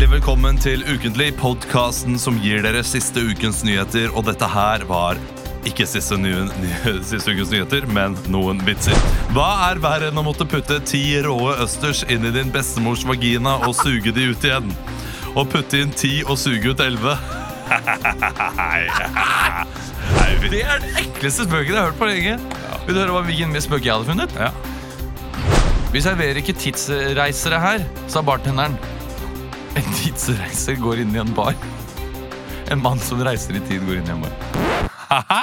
velkommen til Ukentlig, podkasten som gir dere siste ukens nyheter. Og dette her var ikke siste, nye, nye, siste ukens nyheter, men noen vitser. Hva er verre enn å måtte putte ti råe østers inn i din bestemors vagina og suge de ut igjen? Å putte inn ti og suge ut elleve? Det er den ekleste spøken jeg har hørt på lenge. Vil du høre hva hvilken spøk jeg hadde funnet? Ja. Vi serverer ikke tidsreisere her, sa bartenderen. En tidsreiser går inn i en bar. En mann som reiser i tid, går inn i en bar. Haha?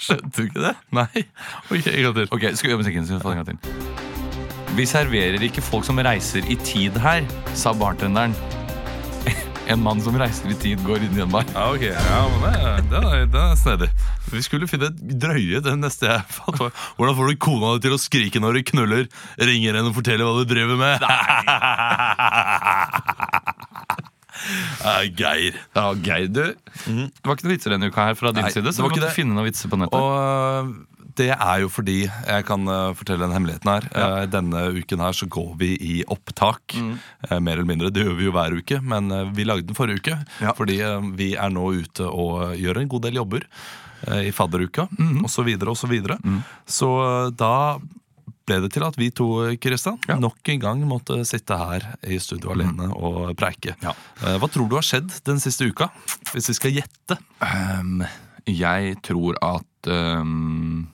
Skjønte du ikke det? Nei. Ok, en gang til. Ok, skal vi gjøre musikken? Skal vi få den en gang til? Vi serverer ikke folk som reiser i tid her, sa bartenderen. En mann som reiser i tid, går inn i en bar. Ja, ok. Ja, men det, det, er- det er snedig. Vi skulle finne et drøye den neste jeg fant. var, Hvordan får du kona di til å skrike når du knuller? Ringer henne og forteller hva du driver med? Ja, Geir. Ja, Geir, du. Mhm. Det var ikke noen vitser denne uka her fra din Nei, side. det Så var vi ikke måtte det. finne noen vitser på nettet. Og eh, det er jo fordi jeg kan eh, fortelle den hemmeligheten her. Eh, Denne uken her så går vi i opptak. eh, Mer eller mindre. Det gjør vi jo hver uke, men eh, vi lagde den forrige uke. Fordi eh, vi er nå ute og gjør en god del jobber eh, i fadderuka og så videre og Så, videre. så eh, da ble det til at vi to Kristian, nok en gang måtte sitte her i studio alene og preike. Ja. Eh, Hva tror du har skjedd den siste uka? Hvis vi skal gjette. Ehm, jeg tror at ehm,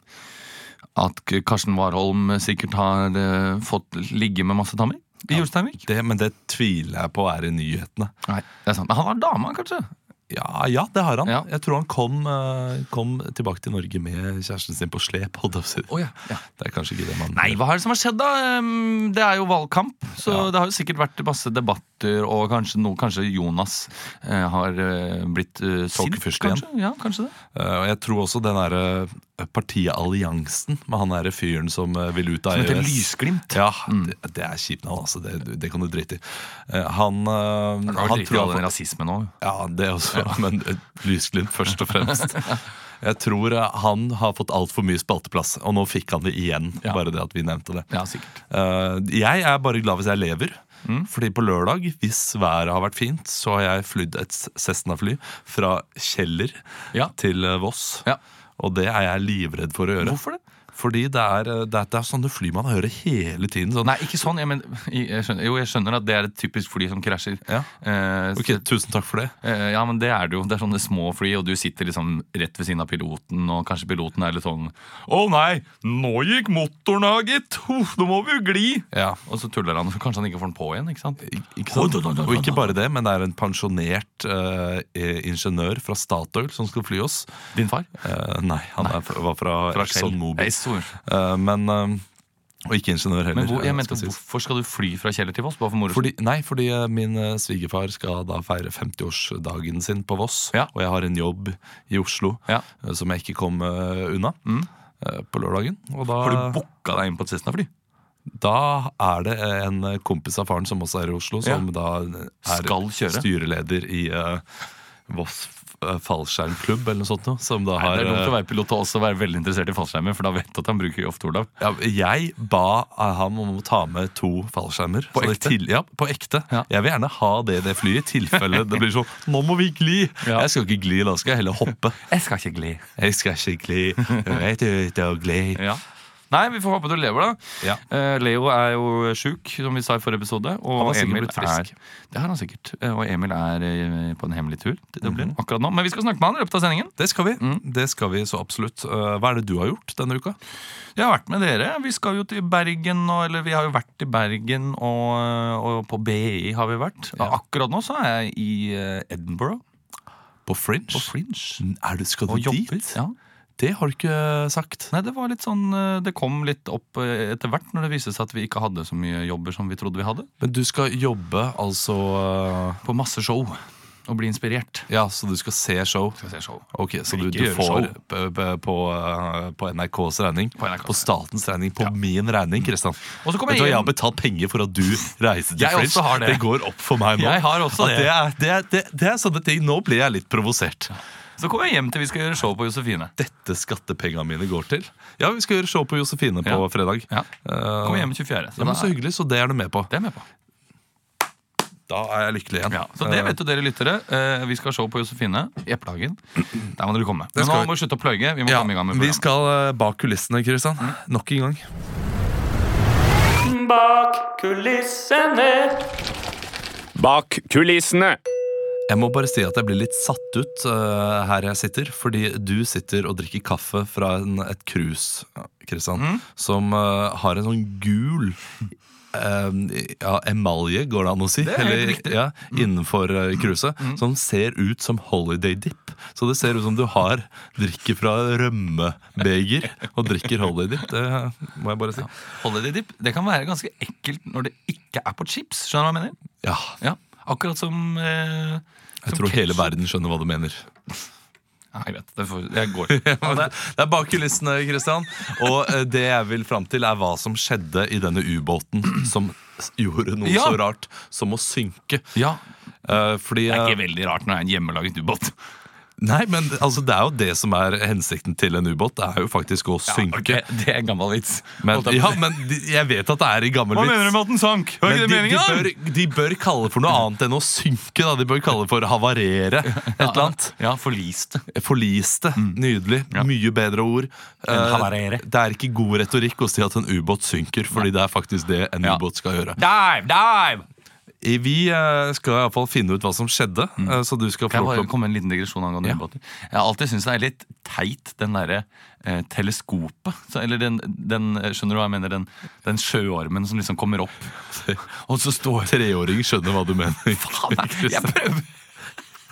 at Karsten Warholm sikkert har eh, fått ligge med masse damer i Ulsteinvik. Det, men det tviler jeg på er i nyhetene. Nei, det er sant. Men han har dama, kanskje? Ja, ja, det har han. Ja. Jeg tror han kom, eh, kom tilbake til Norge med kjæresten sin på slep. holdt jeg på å si. Det er kanskje ikke det man Nei, hva er det som har skjedd, da? Ehm, Det er jo valgkamp, så Ja. det har jo sikkert vært masse debatter, og kanskje, noe, kanskje Jonas eh, har eh, blitt eh, sint, Folkefyrst igjen. kanskje? Ja, kanskje det. Eh, Og jeg tror også den derre eh, partialliansen med han derre fyren som eh, vil ut av Som heter EØS. Lysglimt. Mm. Ja, det, det er kjipt navn, altså. Det, det kan du drite i. Eh, Han, eh, han, Han driter i all får- den rasismen òg. Ja, det også, men eh, lysglimt først og fremst. Jeg tror eh, han har fått altfor mye spalteplass, og nå fikk han det igjen. Ja. Bare det at vi nevnte det. Ja, sikkert. Mm. Eh, jeg er bare glad hvis jeg lever. Fordi på lørdag, hvis været har vært fint, så har jeg flydd et Cessna-fly fra Kjeller Ja. til eh, Voss. Ja. Og det er jeg livredd for å gjøre. Hvorfor det? Fordi det er, eh, det er, det er sånne fly man hører hele tiden. Sånn, Nei, ikke sånn. Jeg mener, jeg skjønner, jo, jeg skjønner at det er et typisk fly som krasjer. Ja. Eh, ok, tusen takk for det. eh, ja, men det er det jo. Det er sånne små fly, og du sitter liksom rett ved siden av piloten, og kanskje piloten er litt sånn Å nei, nå gikk motoren av, gitt! Huff, nå må vi jo gli! Ja. Og så tuller han, for kanskje han ikke får den på igjen. ikke sant? Ikke sant? Og ikke bare det, men det er en pensjonert eh, eh, ingeniør fra Statoil som skal fly oss. Din far? Eh, nei, han er, fra- var fra, Fra Shell. Exxon Mobil. Nei, så- Eh, men, eh, og ikke ingeniør heller. Men hvor, jeg eh, mente, skal sies. hvorfor skal du fly fra Kjeller til Voss? Bare for moro skyld? Fordi, nei, fordi eh, min eh, svigerfar skal da feire 50-årsdagen sin på Voss. Ja. Og jeg har en jobb i Oslo Ja. Mm. eh, som jeg ikke kom eh, unna eh, på lørdagen. Og da, Har du booka deg inn på et Cessna-fly? da er det en eh, kompis av faren som også er i Oslo, som da er Skal kjøre. styreleder i eh, Voss eh, fallskjermklubb eller noe sånt. noe, Som da Nei, har det er dumt eh, å være pilot og også være veldig interessert i fallskjermer, for da vet du at han bruker ofte Olav. eh, ja, jeg ba eh, ham om å ta med to fallskjermer. På Så det ekte? til- ja, på ekte. Ja. Jeg vil gjerne ha det i det flyet, i tilfelle det blir sånn Nå må vi gli! Ja. Jeg skal ikke gli, da skal jeg heller hoppe. Jeg skal ikke gli. Jeg skal ikke gli. Rett ut og gli. Ja. Nei, vi får håpe du lever, da. Ja. Eh, Leo er jo sjuk, som vi sa i forrige episode. Og Han har sikkert Emil blitt frisk. Er, det har han sikkert. Eh, Og Emil er eh, på en hemmelig tur til Dublin akkurat nå. Men vi skal snakke med han i løpet av sendingen. Det skal vi. Mm. Det skal vi så absolutt. Eh, Hva er det du har gjort denne uka? Jeg har vært med dere. Vi skal jo til Bergen, og, eller vi har jo vært i Bergen, og, og på BI har vi vært. Og akkurat nå så er jeg i eh, Edinburgh. På Fringe? På Fringe. Er du, skal du Og dit? jobber. Ja. Det har du eh, ikke sagt. Nei, det var litt sånn eh, Det kom litt opp eh, etter hvert når det viste seg at vi ikke hadde så mye jobber som vi trodde vi hadde. Men du skal jobbe, altså eh, På masse show. Og bli inspirert. Ja, så du skal se show. Skal se show. Ok, Så du, Ikke du gjøre får show. p- p- på, eh, på NRKs regning? På NRKs. statens regning? På min regning, Kristian? Og så kommer Vet du hva, jeg Jeg hjem. har betalt penger for at du reiser til Jeg Fringe. også har det. går opp for meg nå. Jeg har også At det. er, det, er, det, det er sånne ting. Nå blir jeg litt provosert. Så kommer jeg hjem til vi skal gjøre show på Josefine. Dette skattepengene mine går til. Ja, vi skal gjøre show på Josefine på Ja. fredag. Ja. Eh, Kommer hjem 24. ja, men da- så hyggelig, så det er du med på. det er jeg med på. Da er jeg lykkelig igjen. Ja, så det vet jo dere lyttere. Eh, vi skal se på Josefine Jeppehagen. Der må dere komme. Men skal nå vi. må vi slutte å pløye. Vi må Ja, komme i gang med vi programmet. Mm. skal eh, bak kulissene, Kristian. Nok en gang. Bak kulissene. Bak kulissene. Jeg må bare si at jeg blir litt satt ut eh, her jeg sitter, fordi du sitter og drikker kaffe fra en, et krus, Kristian, Mm. som eh, har en sånn gul eh, ja, emalje, går det an å si, er helt riktig. Mm. ja, innenfor eh, kruset, som ser ut som Holiday Dip. Så det ser ut som du har drikker fra rømmebeger og drikker Holiday Dip. Det må jeg bare si. Holiday dip det kan være ganske ekkelt når det ikke er på chips. Skjønner du hva jeg mener? Ja, Ja, Akkurat som eh, jeg tror hele verden skjønner hva du mener. Nei, greit. Det får, jeg går. Ja, det, det er bak kulissene, Kristian. Og eh, det jeg vil fram til, er hva som skjedde i denne ubåten som s- gjorde noe Ja. så rart som å synke. Ja, Eh, fordi Det er eh, ikke veldig rart når det er en hjemmelaget ubåt. Nei, men altså, det er jo det som er hensikten til en ubåt. Det er jo faktisk å Ja, synke. ok, det er en gammel vits. Men, Holdt jeg på å ja, si. men de, jeg vet at det er i gammel Hva vits. mener du med at den sank? Var Men ikke det de, de, meningen? bør, de bør kalle det for noe annet enn å synke. Da. De bør kalle det for havarere. Et eller annet. Ja, forliste. Forliste. Nydelig. Ja. Mye bedre ord. Eh, havarere. det er ikke god retorikk å si at en ubåt synker, fordi det er faktisk det en Ja. ubåt skal gjøre. Dive, dive! I- Vi eh, skal iallfall finne ut hva som skjedde, eh, så du skal få Kan jeg lov bare til å komme med en liten digresjon angående Ja. ubåter? Jeg har alltid syntes det er litt teit, den derre eh, teleskopet. Så, eller den, den, eh, skjønner du hva jeg mener, den, den sjøormen som liksom kommer opp. Og så står Treåring skjønner hva du mener. Faen, jeg, jeg prøver!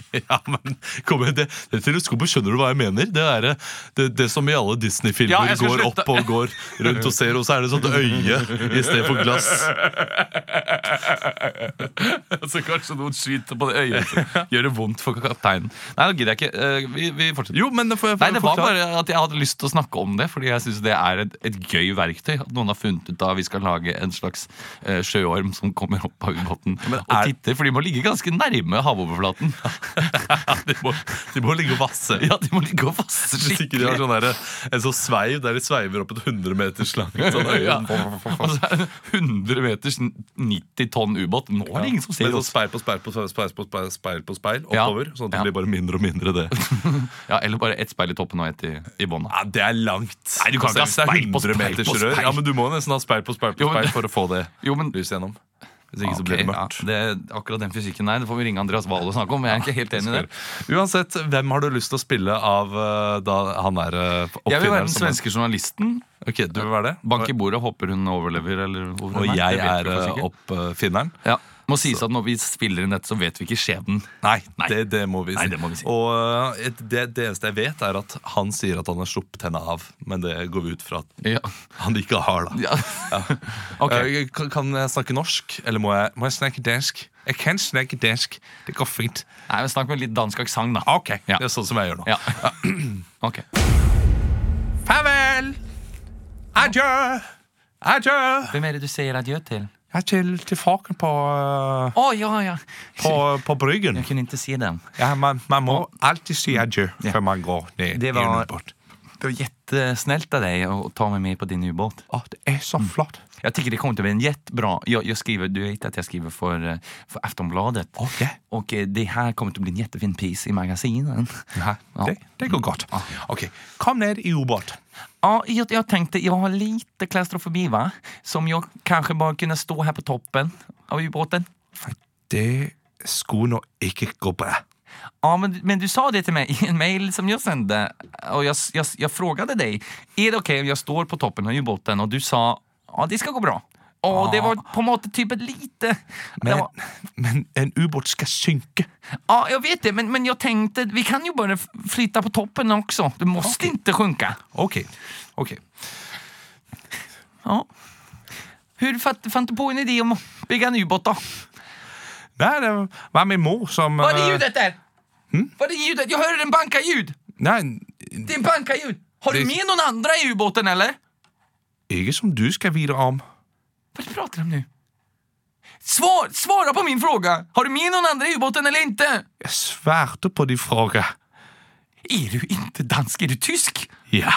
ja, men kom igjen, det, det teleskopet skjønner du hva jeg mener? Det er eh, det, det som i alle Ja, Disney-filmer jeg skal går slutte. opp og går rundt og ser, og så er det sånt øye i stedet for glass. Så kanskje noen skyter på det øyet. liksom. Gjør det vondt for kapteinen. Nei, da gidder jeg ikke. Eh, Vi, vi fortsetter. Jo, men det får jeg Nei, det var forklare. bare at jeg hadde lyst til å snakke om det, fordi jeg syns det er et, et gøy verktøy. At noen har funnet ut av vi skal lage en slags eh, sjøorm som kommer opp av ubåten og er- titter, for de må ligge ganske nærme havoverflaten. de, må, de må ligge og vasse. Ja, de må ligge og vasse Hvis ikke de har skikkelig. sånn der, en sånn sveiv der de sveiver opp et 100 meters langt sånn øye. Ja. Og så er det 100 meters 90 tonn ubåt. Nå er det ingen som ser Med sånn oss. speil på speil på speil, speil på speil, speil, på speil Ja. oppover. Sånn at det Ja. blir bare mindre og mindre det. Ja, eller bare ett speil i toppen og ett i, i bånn. Ja, det er langt. Nei, du kan ikke ha Hvis det er speil på 100 speil meters på speil. rør. Ja, men du må nesten ha speil på speil på Jo, men- speil for å få det Jo, men lyset gjennom. Hvis ikke så blir Ok, det mørkt. ja, det, akkurat den fysikken, nei. Det får vi ringe Andreas Wahl og snakke om. men Jeg er ikke helt enig i det. Uansett, hvem har du lyst til å spille av eh, da han er eh, oppfinneren? Jeg vil være den som- svenske journalisten. Ok, du vil være det? Bank i bordet, håper hun overlever. Eller hvor hun Og jeg det vet er vi kanskje eh, ikke. oppfinneren? Ja. Må sies at når vi spiller inn dette, så vet vi ikke skjebnen. Nei, Nei. Det, det må vi si. Nei, det må vi si. Og eh, et- det, det eneste jeg vet, er at han sier at han har sluppet henne av. Men det går vi ut fra at Ja. han ikke har, da. Ja. Ok. Eh, kan- Kan jeg snakke norsk, eller må jeg, må jeg snakke dansk? Jeg kan snakke dansk. Det går fint. Nei, men Snakk med litt dansk aksent, da. Ok, Ja. Det er sånn som jeg gjør nå. Ja. Ok. Farvel! Adjø! Adjø! Hvem er det du sier adjø til? Jeg er til, tilbake på, eh, Å, ja, ja. på, på bryggen. Jeg kunne ikke si den. Ja, man, man må alltid si adjø før man går ned Det var- i en ubåt. Det var jättesnällt av deg å ta meg med på din ubåt. Å, det er Mm. så flott. Jeg tycker det kommer til å bli en jättebra... Jag, jag skriver, du vet at jeg skriver for, eh, for Aftonbladet. Ok. Og eh, det her kommer til å bli en jättefin piece i magasinen. Ja, det, det går godt. Ok, kom ned i ubåt. Ja, jag, jag tänkte, jag har lite klaustrofobi va? Som jag kanske bara kunde stå här på toppen av ubåten. Det skulle nå ikke gå bra. Ja, men, men du sa det till mig i en mail som jag sände. Och jag, jag, jag frågade dig, är det okej om jag står på toppen av ubåten? Och du sa, ja det ska gå bra. Och det var på något typ ett lite... det Men, var- men en ubåt skal synke. Ja, jag vet det, men, men jag tänkte, vi kan ju bara f- flytta på toppen också. Du måste inte sjunka. Ok, ok. Ja. Hur fatt, fann du på en idé om att bygga en ubåt då? Nei, det var min mor som... Vad är eh, Hm? ljudet där? Vad är ljudet? Jag hörde en banka-ljud! Nei, Det är en banka-ljud! Har du Det- med någon andra i ubåten eller? ikke som du skal vite om. Vad pratar du om nu? Svar, svara på min fråga! Har du med någon andra i ubåten eller inte? Jeg svarte på de fråga. Är du inte dansk? Är du tysk? Ja.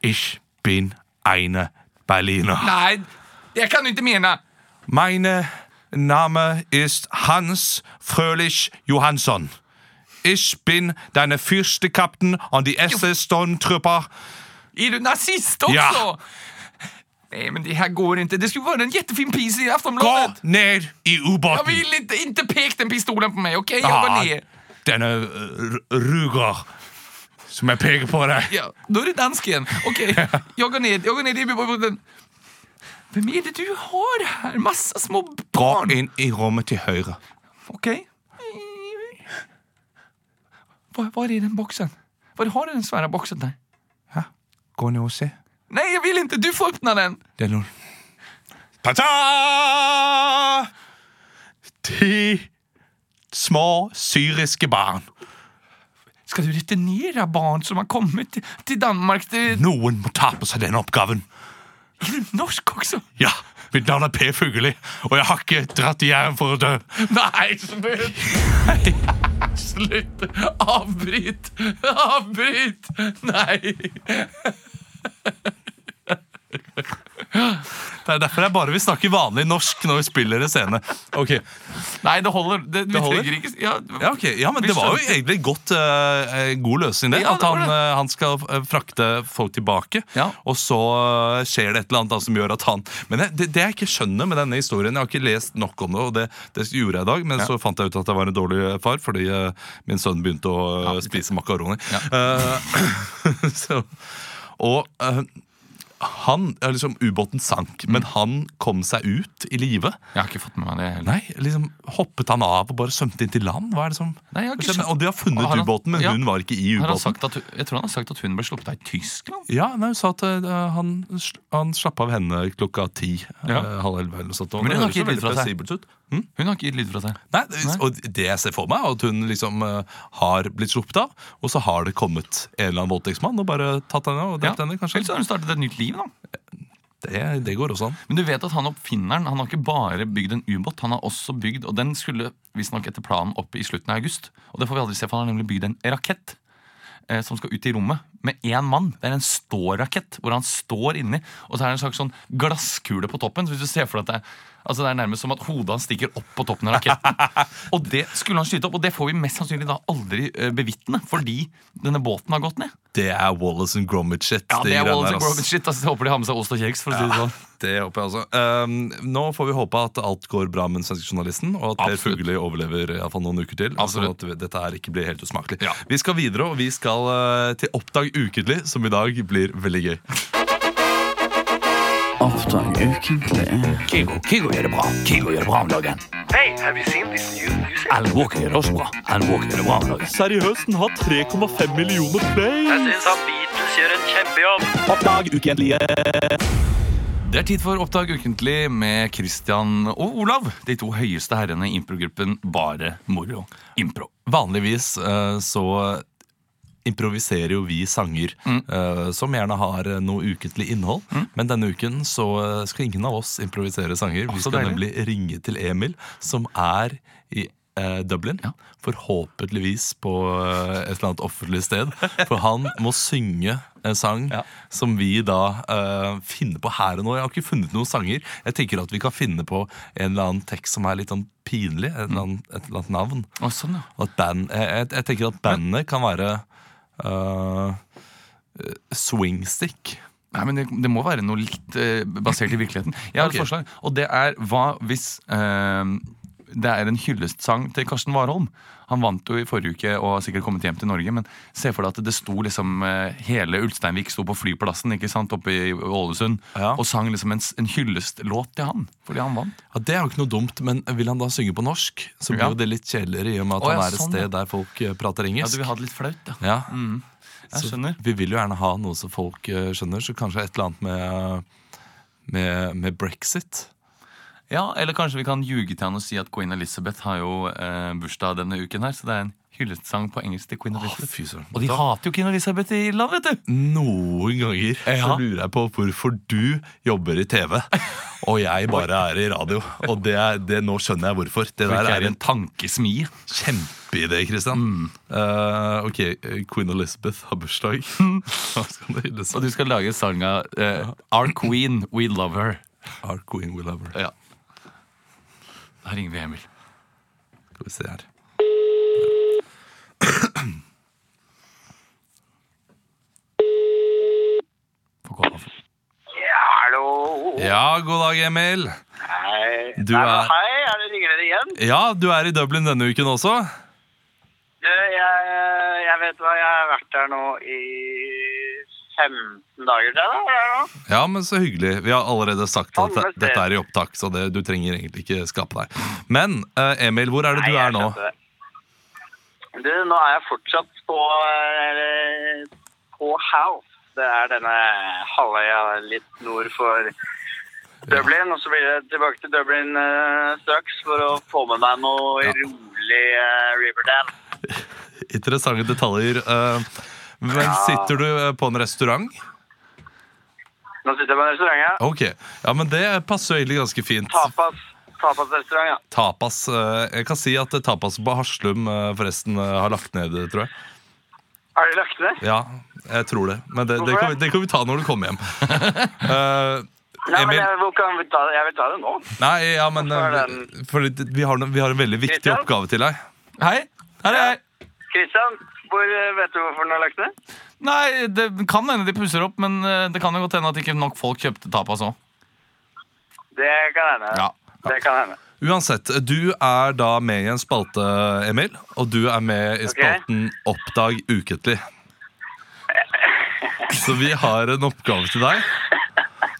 Ich bin eine Berliner. Nej, det kan du inte mena! Meine Name ist Hans Fröhlich Johansson. Ich bin deine fyrste Captain on the SS Stormtrooper. Är du nazist också? Ja. Nej, men det här går inte. Det skulle vara en jättefin piece i Gå Aftonbladet. ned i Jag ubåten! vill inte, inte pek den pistolen på mig, okej? jag Ja, var ner. denne eh, r- Ruger som jeg peker på deg. Ja, då är det dansken. Okej, jag går ner. Jag går ner i ubåten. Vem är det du har här? Massa små Gå barn. inn i rommet til høyre. Okej. Var, var är den boxen? Var har du den svära boxen där? Gå ned og se. Nej, jag vill inte. Du får öppna den. Det er noen Ta-ta! Ti små syriske barn. Ska du returnera barn som har kommit till- till Danmark? Det är Noen må ta på seg den oppgaven. du norsk också. Ja, mitt navn er Per Fugelli, og jeg har ikke dratt i jæren for å dø. Nej, slut! slut! Avbryt! Avbryt! Nej! Det er derfor jeg bare vil snakke vanlig norsk når vi spiller en scene. Ok, Nej, det håller. Det, vi håller? trenger ikke ja, ja, ok. ja men Vi Det var jo skjønte. egentlig godt, eh, eh, god løsning, det. Ja, det at han, var det. eh, han skal eh, frakte folk tilbake, Ja. og så eh, skjer det et eller annet da, som gjør at han Men det, det, det jeg ikke skjønner med denne historien Jeg har ikke lest nok om det, og det, det gjorde jeg i dag, men så fant jeg ut at jeg var en dårlig far fordi eh, min sønn begynte å eh, spise makaroner. Eh, så, og eh, han, ja, liksom Ubåten sank, Mm. men han kom seg ut i live. Jeg har ikke fått med meg det heller. Nei, liksom Hoppet han av og bare svømte inn til land? Hva er det som Nei, jeg har ikke skjedde? skjønt. Og de har funnet Har han- ubåten, men ja. hun var ikke i Har han ubåten. sagt at, jeg tror han har sagt at hun ble sluppet av i Tyskland. Ja, nei, Hun sa at eh, han, sl- han slapp av henne klokka ti. Ja. eh, Halv elleve eller noe sånt. og Men det hun har høres jo ikke gitt lyd veldig fra seg. plausibelt ut. Hun har ikke gitt lyd fra seg. Nei, det- Og det jeg ser for meg, er at hun liksom eh, har blitt sluppet av, og så har det kommet en eller annen voldtektsmann og bare tatt henne og drept henne. Eller så kanskje. har hun startet et nytt liv. da Det, det går også an. Men du vet at han oppfinneren Han har ikke bare bygd en ubåt, han har også bygd Og den skulle visstnok etter planen opp i slutten av august. Og det får vi aldri se, for han har nemlig bygd en rakett. Eh, som skal ut i rommet med én mann. Det er en stårakett hvor han står inni. Og så er det en slags sånn glasskule på toppen. Så hvis du ser for deg at det er, altså det er nærmest som at hodet hans stikker opp på toppen av raketten. og det skulle han skyte opp, og det får vi mest sannsynlig da aldri eh, bevitne. Fordi denne båten har gått ned. Det er Wallace and Gromit-shit. Ja, det er greiene Wallace der, and ass. Gromit shit. Altså, jeg håper de har med seg ost og kjeks. for å si det sånn. Det håper jeg også. Ehm, nå får vi håpe at alt går bra med den svenske journalisten, og at Per Absolutt. Fugelli overlever i hvert fall noen uker til. Sånn Absolutt. at vi- dette her ikke blir helt usmakelig. Ja. Vi skal videre, og vi skal eh, til Oppdag ukentlig, som i dag blir veldig gøy. Oppdrag ukentlig. Kygo, Kygo gjør det bra. Kygo gjør det bra om dagen. Alan Walker gjør det også bra. Alan Walker gjør det bra om dagen. Seriøst, den har 3,5 millioner play. Det er tid for Oppdag ukentlig med Christian og Olav. De to høyeste herrene i improgruppen Bare Moro Impro. Vanligvis eh, så improviserer jo vi sanger Mm. eh, som gjerne har eh, noe ukentlig innhold. Men denne uken så eh, skal ingen av oss improvisere sanger. Vi så skal deilig. nemlig ringe til Emil, som er i eh, Dublin. Ja. Forhåpentligvis på eh, et eller annet offentlig sted. For han må synge en sang Ja. som vi da eh, finner på her og nå. Jeg har ikke funnet noen sanger. Jeg tenker at vi kan finne på en eller annen tekst som er litt sånn pinlig. Et eller annet, et eller annet navn. Å, sånn, ja. Og at band, jeg, jeg, jeg tenker at bandet kan være øh, øh, swingstick. Nei, men det, det må være noe litt eh, basert i virkeligheten. Jeg har Ok. et forslag, og det er hva hvis eh, det er en hyllestsang til Karsten Warholm. Han vant jo i forrige uke og har sikkert kommet hjem til Norge, men se for deg at det sto liksom eh, hele Ulsteinvik sto på flyplassen ikke sant, oppe i Ålesund Ja. og sang liksom en, s- en hyllestlåt til han fordi han vant. Ja, det er jo ikke noe dumt, men vil han da synge på norsk, så blir Ja. jo det litt kjedeligere i og med at Å, ja, han er et sånn, ja. sted der folk øh, prater Ja, du engelsk. vil ha det litt flaut, ja. Ja. Jeg skjønner. Vi vil jo gjerne ha noe som folk øh, skjønner, så kanskje et eller annet med, med, med brexit. Ja, eller kanskje vi kan ljuge til han og si at Queen Elizabeth har jo eh, bursdag denne uken her, så det er en hyllestsang på engelsk til Queen Elizabeth. fy søren. og de hater jo Queen Elizabeth i Irland, vet du! Noen ganger så Ja. lurer jeg på hvorfor du jobber i TV, og jeg bare er i radio. Og det er, det, nå skjønner jeg hvorfor. Det Det der er er en en tankesmi. Kjempeidé, Kristian. Mm. Eh, ok, eh, Queen Elizabeth har bursdag. Hva skal det hylles Og av? du skal lage sanga eh, Our Queen, We Love Her. Our Queen Will Ever. Ja. Da ringer vi Emil. Skal vi se her. Får gå av. Hallo. Ja, god dag, Emil. Hei. Du Nei, men er- Hei, er det ringer dere igjen? Ja, du er i Dublin denne uken også. Du, jeg, jeg vet hva, jeg har vært der nå i 15 dager, tror jeg. det er nå. Ja, men så hyggelig. Vi har allerede sagt at Samme dette, sted. dette er i opptak, så det, du trenger egentlig ikke skape deg. Men eh, Emil, hvor er det du Nei, jeg er nå? skjønte det. Du, nå er jeg fortsatt på, eh, på House. Det er denne halvøya litt nord for Dublin. Og så blir det tilbake til Dublin eh, straks for å få med meg noe rolig eh, Riverdance. Interessante detaljer. eh, men sitter du eh, på en restaurant? Nå sitter jeg på en restaurant, ja. Ok, ja, men det passer jo egentlig ganske fint. Tapas. Tapasrestaurant, ja. Tapas. eh, jeg kan si at eh, tapas på Haslum eh, forresten eh, har lagt ned, tror jeg. Har de lagt ned? Ja, jeg tror det. Men det, det, kan, vi- det kan vi ta når du kommer hjem. Eh, Nei, men Emil, jeg, hvor kan vi ta det? Jeg vil ta det nå. nei, ja, men Hvorfor er eh, den- fordi vi, har, no- vi har en veldig viktig Christian? oppgave til deg. Hei! Her er jeg. Kristian, hvor, eh, vet du hvorfor den har lagt ned? Nei, det kan hende de pusser opp, men eh, det kan jo godt hende at ikke nok folk kjøpte tapas òg. Det kan hende. Ja. Det kan hende. Uansett, du er da med i en spalte, Emil, og du er med i Ok. spalten Oppdag ukentlig. Så vi har en oppgave til deg,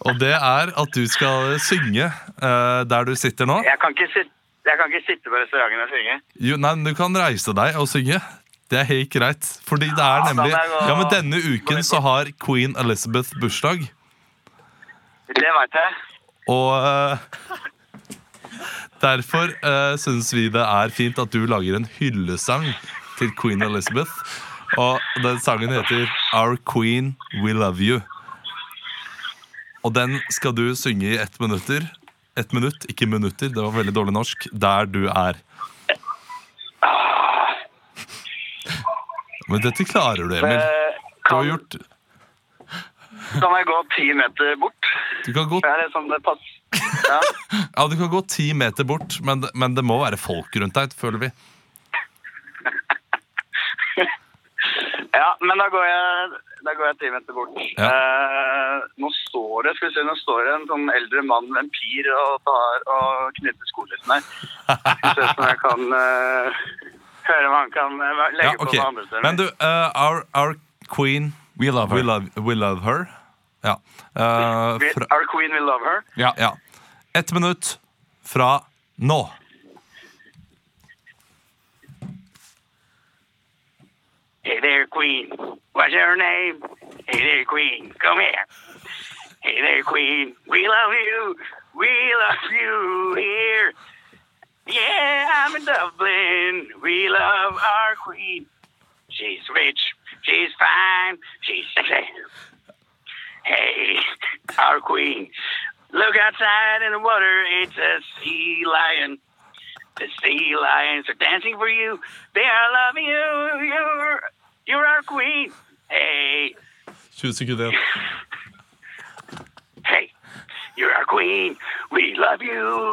og det er at du skal synge eh, der du sitter nå. Jeg kan ikke sitte, jeg kan ikke sitte på restauranten og synge. Jo, nei, men du kan reise deg og synge. Det er helt greit, fordi det er Ja, da må nemlig jeg gå- Ja, men denne uken så har Queen Elizabeth bursdag, Det veit jeg. og eh, Derfor uh, syns vi det er fint at du lager en hyllesang til Queen Elizabeth. Og den sangen heter Our Queen We Love You. Og den skal du synge i ett minutter. Ett minutt, ikke minutter. Det var veldig dårlig norsk. Der du er. Men dette klarer du, Emil. Eh, Du har Kan, gjort kan jeg gå ti meter bort? Du kan gå, Det er liksom det pass. Ja. ja, du kan gå ti meter bort, men, det- men det må være folk rundt deg, føler vi. ja, men da går jeg, da går jeg ti meter bort. Ja. Eh, nå står det skal vi se, nå står det en sånn eldre mann med en pir og, tar, og knytter skolissene. Skal vi se om jeg kan eh, høre om han kan eh, legge Ja, ok. på noen andre steder. Men du, eh, our, our queen We love We her. love, we love her. Ja. Eh, We- fra, Our queen will love her. ja. Ett minutt fra nå. Hey there, Queen. What's your name? Hey there, Queen. Come here. Hey there, Queen. We love you. We love you here. Yeah, I'm in Dublin. We love our Queen. She's rich. She's fine. She's sexy. Hey, our Queen. Look outside in the water. It's a sea lion. The sea lions are dancing for you. They are loving you. You're, you're our queen. Hey, 20 sekunder igjen. hey, you're our queen. We love you.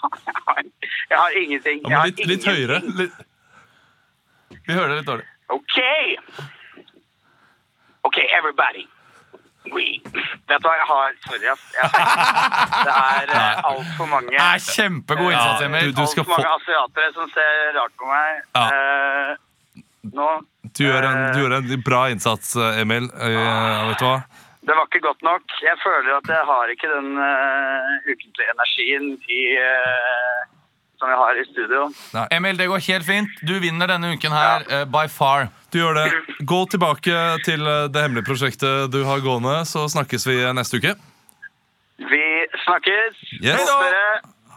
Jeg har ingenting. Ja, Jeg har men litt, litt ingenting. høyere. Litt. Vi hører det litt dårlig. Okay. Okay, everybody. We. Vet du hva jeg har? Sorry, ass. Jeg, det er eh, altfor mange Det er kjempegod innsats, Emil. du- du skal Altfor mange få- asiatere som ser rart på meg. Ja. Eh, nå Du gjør en, du gjør en bra innsats, eh, Emil. Eh, vet du hva? Det var ikke godt nok. Jeg føler at jeg har ikke den eh, ukentlige energien i, eh, som jeg har i studio. Emil, det går helt fint. Du vinner denne uken her eh, by far. Du gjør det. Gå tilbake til eh, det hemmelige prosjektet du har gående, så snakkes vi eh, neste uke. Vi snakkes! Yes. Kos dere!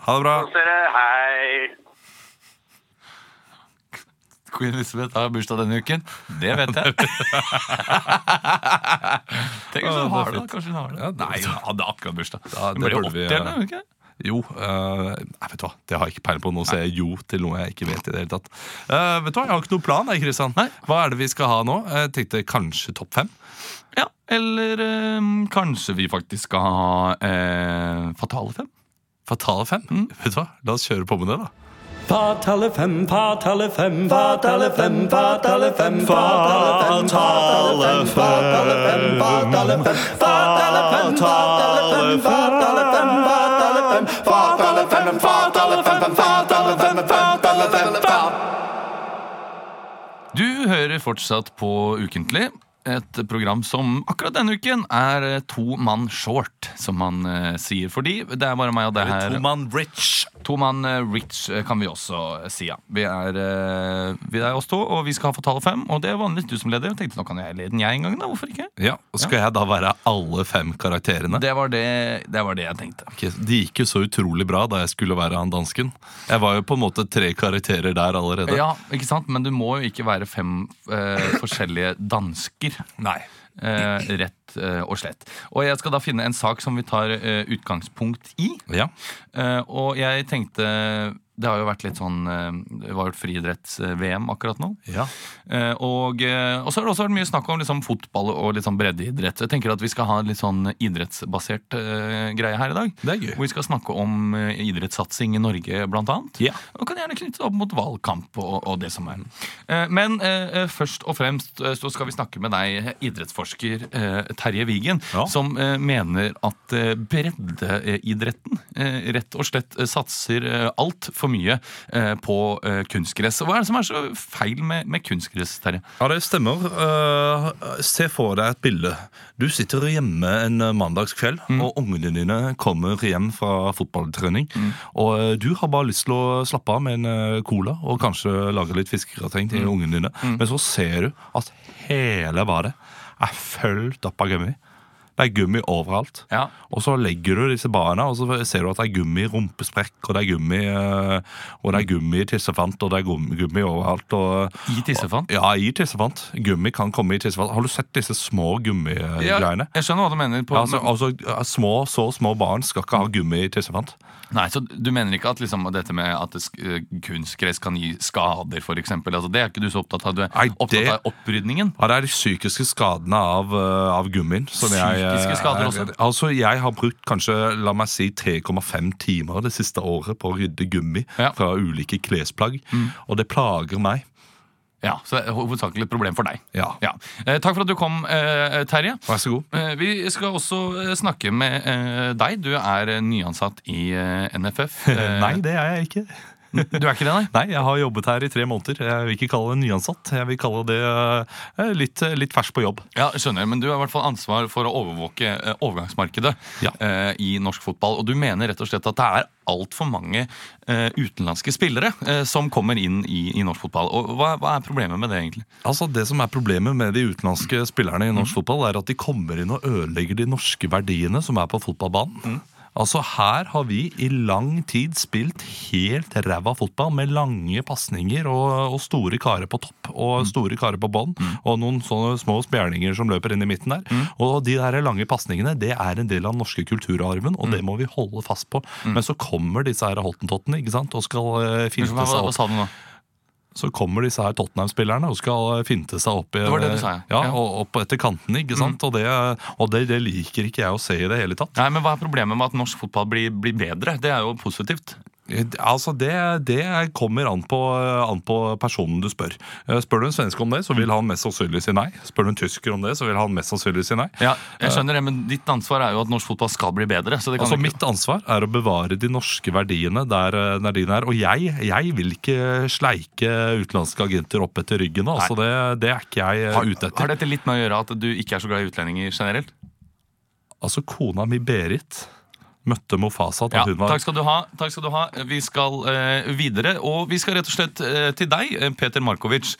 Ha det bra. Kos dere! Hei! Queen Elizabeth har bursdag denne uken. Det vet jeg. Tenk hvis Å, det er hun har det. da. fint. Kanskje hun har det. Ja, det- Nei, hun hadde akkurat bursdag. Ja, Hun det ble burde vi, 80 eller noe, ikke? Jo. eh, nei, vet du hva, det har jeg ikke peiling på. Nå sier jeg jo til noe jeg ikke vet i det hele tatt. Eh, vet du hva, Jeg har ikke noen plan. Jeg, Kristian Hva er det vi skal ha nå? Jeg tenkte kanskje topp fem. Ja, eller eh, kanskje vi faktisk skal ha eh, Fatale fem? Fatale fem? Vet du hva? La oss kjøre på med det, da. Fatale fem, fatale fem, fatale fem, fatale fem, fatale fem, fatale fem, fatale fem, fatale fem, fatale fem, fatale fem, fatale fem, fatale fem, fatale fem, fatale fem, fatale fem, Du hører fortsatt på Ukentlig. Et program som akkurat denne uken er eh, to mann short, som man eh, sier. Fordi det er bare meg og det her. Toman Rich. To mann eh, rich eh, kan vi også si, ja. Vi er, eh, vi er oss to, og vi skal ha Fatale fem. Og det er vanligvis du som leder. Jeg tenkte nå kan jeg lede den jeg en gang, da. Hvorfor ikke? Ja, og Skal jeg da være alle fem karakterene? Det var det, det, var det jeg tenkte. Ok, Det gikk jo så utrolig bra da jeg skulle være han dansken. Jeg var jo på en måte tre karakterer der allerede. Ja, ikke sant? Men du må jo ikke være fem eh, forskjellige dansker. Nei. Eh, rett eh, og slett. Og jeg skal da finne en sak som vi tar eh, utgangspunkt i. Ja. Eh, og jeg tenkte Det har jo vært litt sånn eh, Det var jo et friidretts-VM akkurat nå. Ja. Eh, og, eh, og så har det også vært mye snakk om liksom, fotball og litt sånn breddeidrett. Så jeg tenker at vi skal ha en litt sånn idrettsbasert eh, greie her i dag. Det er gøy. Hvor vi skal snakke om eh, idrettssatsing i Norge, blant annet. Ja. Og kan gjerne knytte det opp mot valgkamp og, og det som er. Eh, Men eh, eh, først og fremst eh, så skal vi snakke med deg, eh, idrettsforsker eh, Terje Wigen, Ja. som eh, mener at eh, breddeidretten eh, rett og slett eh, satser altfor mye eh, på eh, kunstgress. Hva er det som er så feil med, med kunstgress, Terje? Ja, det stemmer. Eh, se for deg et bilde. Du sitter hjemme en mandagskveld, og ungene dine kommer hjem fra fotballtrening. Og eh, du har bare lyst til å slappe av med en eh, cola og kanskje lage litt fiskegrateng til ungene dine. Men så ser du at hele badet er fullt opp av gummi. Det er gummi overalt. Ja. Og så legger du disse barna, og så ser du at det er gummi i rumpesprekk, og det er gummi, eh, og det er gummi i tissefant, og det er gummi, gummi overalt. Og, I tissefant? Ja, i tissefant. Gummi kan komme i tissefant. Har du sett disse små gummigreiene? jeg skjønner hva du mener. På, Ja, altså, altså, ja, små, så små barn skal ikke ha gummi i tissefant. Nei, så Du mener ikke at liksom, dette med at det sk- eh, kunstgress kan gi skader, f.eks.? Altså, det er ikke du så opptatt av. Du er Nei, opptatt det- av opprydningen. Ja, Det er de psykiske skadene av, eh, av gummien. Som jeg, eh, Psykiske skader også? Altså, jeg har brukt kanskje la meg si 3,5 timer det siste året på å rydde gummi Ja. Mm. fra ulike klesplagg. Og det plager meg. Ja, Så det er hovedsakelig et problem for deg. Ja. Ja. Eh, takk for at du kom, eh, Terje. Vær så god. Eh, vi skal også eh, snakke med eh, deg. Du er eh, nyansatt i eh, NFF. Eh, Nei, det er jeg ikke. Du er ikke det, nei? Nei, Jeg har jobbet her i tre måneder. Jeg vil ikke kalle det nyansatt. Jeg vil kalle det eh, litt, litt fersk på jobb. Ja, skjønner, men Du har i hvert fall ansvar for å overvåke eh, overgangsmarkedet Ja. eh, i norsk fotball. og Du mener rett og slett at det er altfor mange eh, utenlandske spillere eh, som kommer inn i, i norsk fotball. Og hva, hva er problemet med det, egentlig? Altså, Det som er problemet med de utenlandske spillerne i Mhm. norsk fotball, er at de kommer inn og ødelegger de norske verdiene som er på fotballbanen. Mhm. Altså, Her har vi i lang tid spilt helt ræva fotball med lange pasninger og, og store karer på topp Mhm. og store karer på bånn og noen sånne små spjerninger som løper inn i midten der. Mhm. Og de der lange pasningene det er en del av den norske kulturarven, og Mhm. det må vi holde fast på. Men så kommer disse her holtentottene ikke sant, og skal eh, finte Hva, seg opp hva, hva sa du nå? så kommer disse her Tottenham-spillerne og skal finte seg opp, i, Det var det du sa, ja. ja, Mm. Ja. og opp etter kantene. ikke sant? Og, det, og det, det liker ikke jeg å se i det hele tatt. Nei, men Hva er problemet med at norsk fotball blir, blir bedre? Det er jo positivt. Altså, Det, det kommer an på, eh, an på personen du spør. Eh, Spør du en svenske om det, så vil han mest sannsynlig si nei. Spør du en tysker om det, så vil han mest sannsynlig si nei. Ja, jeg skjønner det, men Ditt ansvar er jo at norsk fotball skal bli bedre. så det kan Altså, ikke... Mitt ansvar er å bevare de norske verdiene der eh, der de er. Og jeg, jeg vil ikke sleike utenlandske agenter opp etter ryggen. altså det, det er ikke jeg eh, Har, ute etter. har dette litt med å gjøre at du ikke er så glad i utlendinger generelt? Altså, kona mi Berit møtte Mofasa da Ja, hun var takk, skal du ha, takk skal du ha. Vi skal eh, videre, og vi skal rett og slett eh, til deg, eh, Peter Markovic.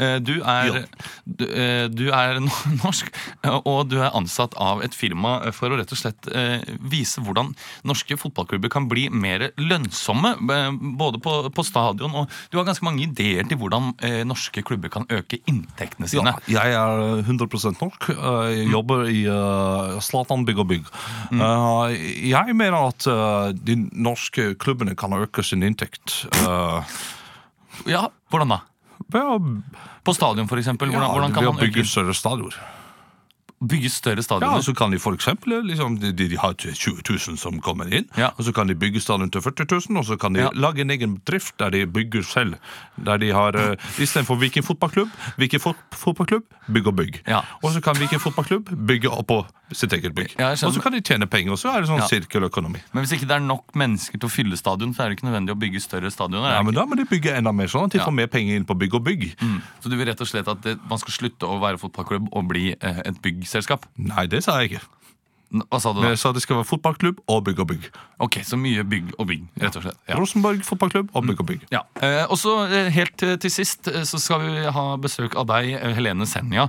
Eh, du, er, Ja. du, eh, du er no- norsk, eh, og du er ansatt av et firma eh, for å rett og slett eh, vise hvordan norske fotballklubber kan bli mer lønnsomme, eh, både på, på stadion og Du har ganske mange ideer til hvordan eh, norske klubber kan øke inntektene sine. Ja, jeg er 100 norsk. Jeg eh, Mm. jobber i eh, Zlatan Bygg og Bygg. Eh, Jeg mener at eh, de norske klubbene kan øke sin inntekt eh, Ja, hvordan da? ved å På stadion, for eksempel. Hvordan, hvordan ja, kan ved å man bygge øke større stadioner. Bygge Ja, større altså- stadioner. og så kan de for eksempel, liksom, de, de de har 20 000 som kommer inn, Ja. og så kan de bygge stadion til 40 000, og så kan de Ja. lage en egen drift der de bygger selv. Der de har, eh, istedenfor Viking fotballklubb, Viking fot fotballklubb, bygg og bygg. Ja. Og så kan Viking fotballklubb bygge oppå sitt eget bygg. Ja, jeg skjønner. og så kan de tjene penger, og så er det sånn Ja. sirkeløkonomi. Men hvis ikke det er nok mennesker til å fylle stadion, så er det ikke nødvendig å bygge større stadioner. er Ja, det men da må de bygge enda mer sånn at de Ja. Mm. får mer penger inn på bygg og bygg. ikke? Så du vil rett og slett at det, man skal slutte å være fotballklubb og bli eh, et byggselskap? Nei, det sa jeg ikke. N- Hva sa du Men da? jeg sa det skal være fotballklubb og bygg og bygg. Ok, så mye bygg og bygg, rett og slett. Ja. Rosenborg fotballklubb og bygg og bygg. Ja. Eh, og så eh, helt eh, til sist eh, så skal vi ha besøk av deg, eh, Helene Senja.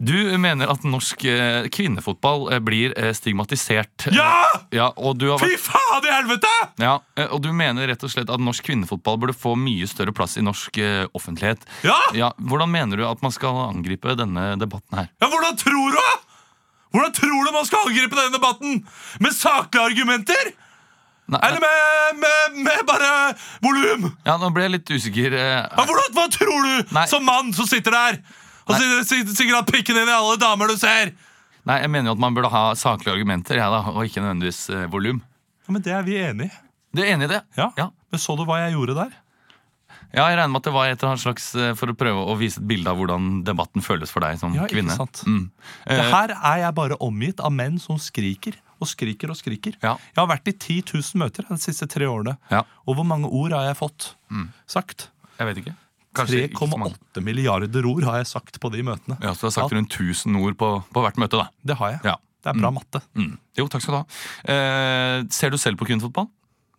Du mener at norsk eh, kvinnefotball eh, blir eh, stigmatisert. Ja! Ja, og du har vært, Fy faen i helvete! ja, eh, og du mener rett og slett at norsk kvinnefotball burde få mye større plass i norsk eh, offentlighet. Ja! Ja, Hvordan mener du at man skal angripe denne debatten her? Ja, hvordan tror du da? Hvordan tror du man skal angripe denne debatten? Med saklige argumenter? Nei, Eller med, med, med bare volum? ja, Nå ble jeg litt usikker. Ja, eh, hvordan, hva tror du Nei. som mann som sitter der og sier- sier- sikkert har pikken inn i alle damer du ser? Nei, Jeg mener jo at man burde ha saklige argumenter, jeg da, og ikke nødvendigvis eh, volum. Ja, men Det er vi enig i. Du er enig i det? Ja. ja. Men så du hva jeg gjorde der? Ja, jeg regner med at det var et eller annet slags eh, For å prøve å vise et bilde av hvordan debatten føles for deg som Ja, ikke kvinne. sant. Mm. Det Eh, her er jeg bare omgitt av menn som skriker og skriker og skriker. Ja. Jeg har vært i 10 000 møter de siste tre årene. Ja. Mm. Og hvor mange ord har jeg fått sagt? jeg vet ikke. Kanskje ikke så mange. 3,8 milliarder ord har jeg sagt på de møtene. Ja, Så du har sagt rundt 1000 ord på, på hvert møte, da. Det har jeg. Ja. Det er bra matte. Mm. Jo, takk skal du ha. Eh, ser du selv på kvinnefotball?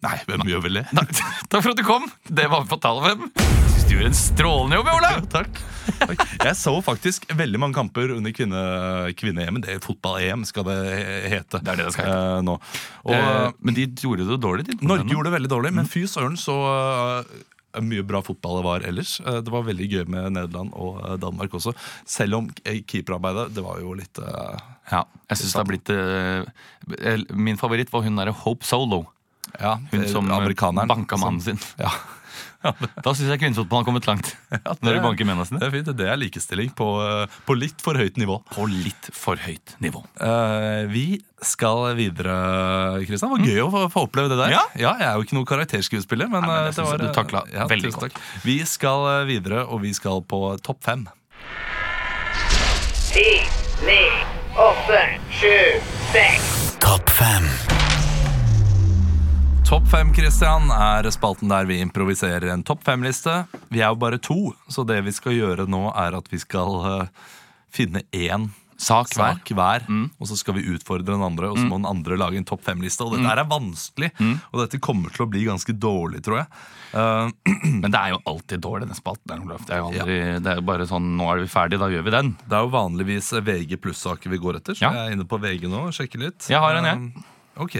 Nei, hvem gjør vel det? Takk, takk for at du kom! Det var Fatale fem. Syns du gjorde en strålende jobb, Olav! Takk. Jeg så faktisk veldig mange kamper under kvinne, kvinne-EM. Det er fotball-EM, skal det hete. Det er det det skal eh, nå. Og Eh, Mm. men de gjorde det dårlig. De, Norge gjorde det veldig dårlig, men fy søren så eh, mye bra fotball det var ellers. Eh, Det var veldig gøy med Nederland og eh, Danmark også. Selv om eh, keeperarbeidet, det var jo litt eh, Ja, jeg synes det har blitt eh, el- Min favoritt var hun derre Hope Solo. Ja, Hun som eh, amerikaneren. banka mannen sin. Ja. Da syns jeg kvinnefotballen har kommet langt. Når de banker mennene sine. Det er fint, det er likestilling på, eh, på litt for høyt nivå. på litt for høyt nivå. Eh, vi skal videre, Kristian. Det var gøy å få, få oppleve det der. Mm. Ja. Jeg er jo ikke noen karakterskuespiller, men, Nei, men eh, det synes jeg du takla ja, veldig tusen godt. takk. Vi skal eh, videre, og vi skal på topp fem. Ti, ni, åtte, sju, seks. Topp fem. Topp fem Kristian, er spalten der vi improviserer en topp fem-liste. Vi er jo bare to, så det vi skal gjøre nå, er at vi skal eh, finne én Sak hver. Mm. sak hver, og så skal vi utfordre den andre, og så må den andre lage en topp fem-liste. Mm. Og dette her er vanskelig, og dette kommer til å bli ganske dårlig, tror jeg. Eh, Men det er jo alltid dårlig, den spalten. der, Olav. Det er jo aldri, det er jo bare sånn Nå er vi ferdig, da gjør vi den. det er jo vanligvis VG pluss-saker vi går etter, så Ja. jeg er inne på VG nå og sjekker litt. Jeg har en, jeg. Mm. Eh, ok.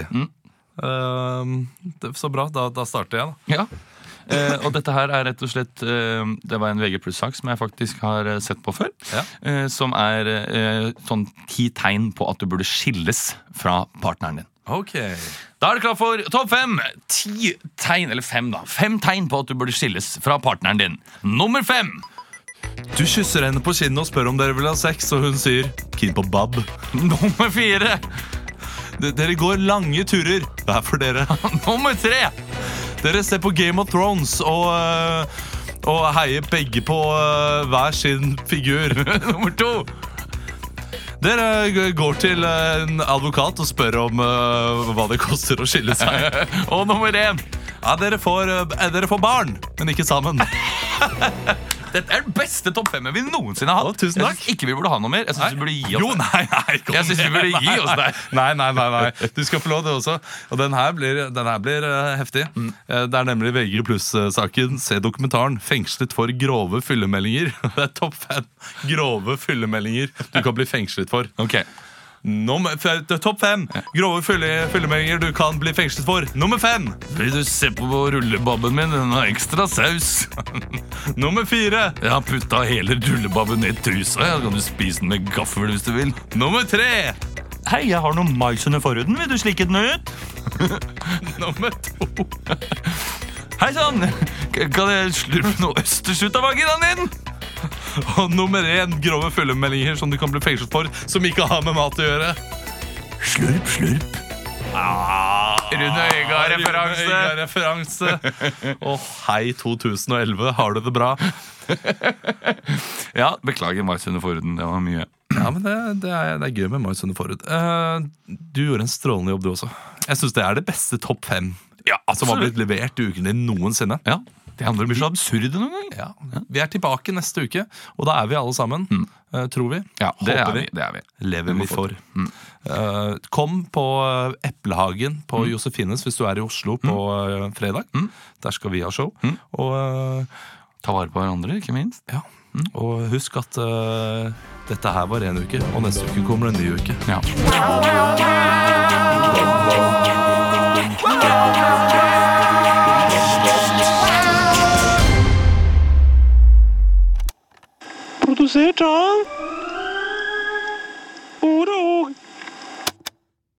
Eh, det, så bra, da, da starter jeg, da. Ja. Eh, og dette her er rett og slett eh, Det var en VG pluss-sak som jeg faktisk har eh, sett på før. Ja. Eh, som er eh, sånn ti tegn på at du burde skilles fra partneren din. Ok. Da er det klart for topp fem. Ti tegn, eller fem, da. Fem tegn på at du burde skilles fra partneren din. Nummer fem. Du kysser henne på kinnet og spør om dere vil ha sex, og hun sier 'keen på bab'. Nummer fire. D dere går lange turer hver for dere. Nummer tre. Dere ser på Game of Thrones og, øh, og heier begge på øh, hver sin figur. Nummer to. Dere g- går til øh, en advokat og spør om øh, hva det koster å skille seg. Og nummer én. Ja, dere får, øh, eh, dere får barn, men ikke sammen. Dette er den beste topp femmen vi noensinne har hatt. Å, tusen Jeg synes ikke vi burde ha noe mer. Jeg synes vi burde gi oss Jo, det. nei, nei, kom Jeg synes vi igjen. burde gi Nei, oss det. Nei, nei, nei, nei. Du skal få lov det også. Og den her blir, den her blir eh, heftig. Mm. Eh, Det er nemlig VG pluss-saken. Se dokumentaren 'Fengslet for grove fyllemeldinger'. Det er topp fem grove fyllemeldinger du kan bli fengslet for. Ok. Nummer, f- topp fem grove fylle, fyllemeldinger du kan bli fengslet for. Nummer fem! Vil du se på rullebabben min? Den har ekstra saus. Nummer fire! Jeg har putta hele rullebabben ned i trusa. Ja. Kan du spise den med gaffel hvis du vil? Nummer tre! Hei, jeg har noe mais under forhuden. Vil du slikke den ut? Nummer to! sånn. Hei sann! Kan jeg slurpe noe østers ut av vaginaen din? Og nummer én grove fyllemeldinger som du kan bli fengslet for, som ikke har med mat å gjøre. Slurp, slurp. Ah, Rune Øygard-referanse. Referanse. Og hei 2011, har du det bra? Ja, beklager mais under forhuden. Det var mye. Ja, men Det, det, er, det er gøy med Mai Sunde Forhud. Eh, du gjorde en strålende jobb, du også. Jeg syns det er det beste topp fem Ja, som har blitt levert i uken din noensinne. Ja, De andre blir så absurde noen ganger. Ja. Vi er tilbake neste uke, og da er vi alle sammen. eh, tror vi. det Håper er vi. det Mm. er Mm. vi. Lever vi for. Eh, kom på eh, Eplehagen på Mm. Josefines hvis du er i Oslo på eh, fredag. Der skal vi ha show. Mm. Og, eh, Ta vare på hverandre, ikke minst. ja. og husk at eh, dette her var én uke, og neste uke kommer en ny uke. Ja. Produsert av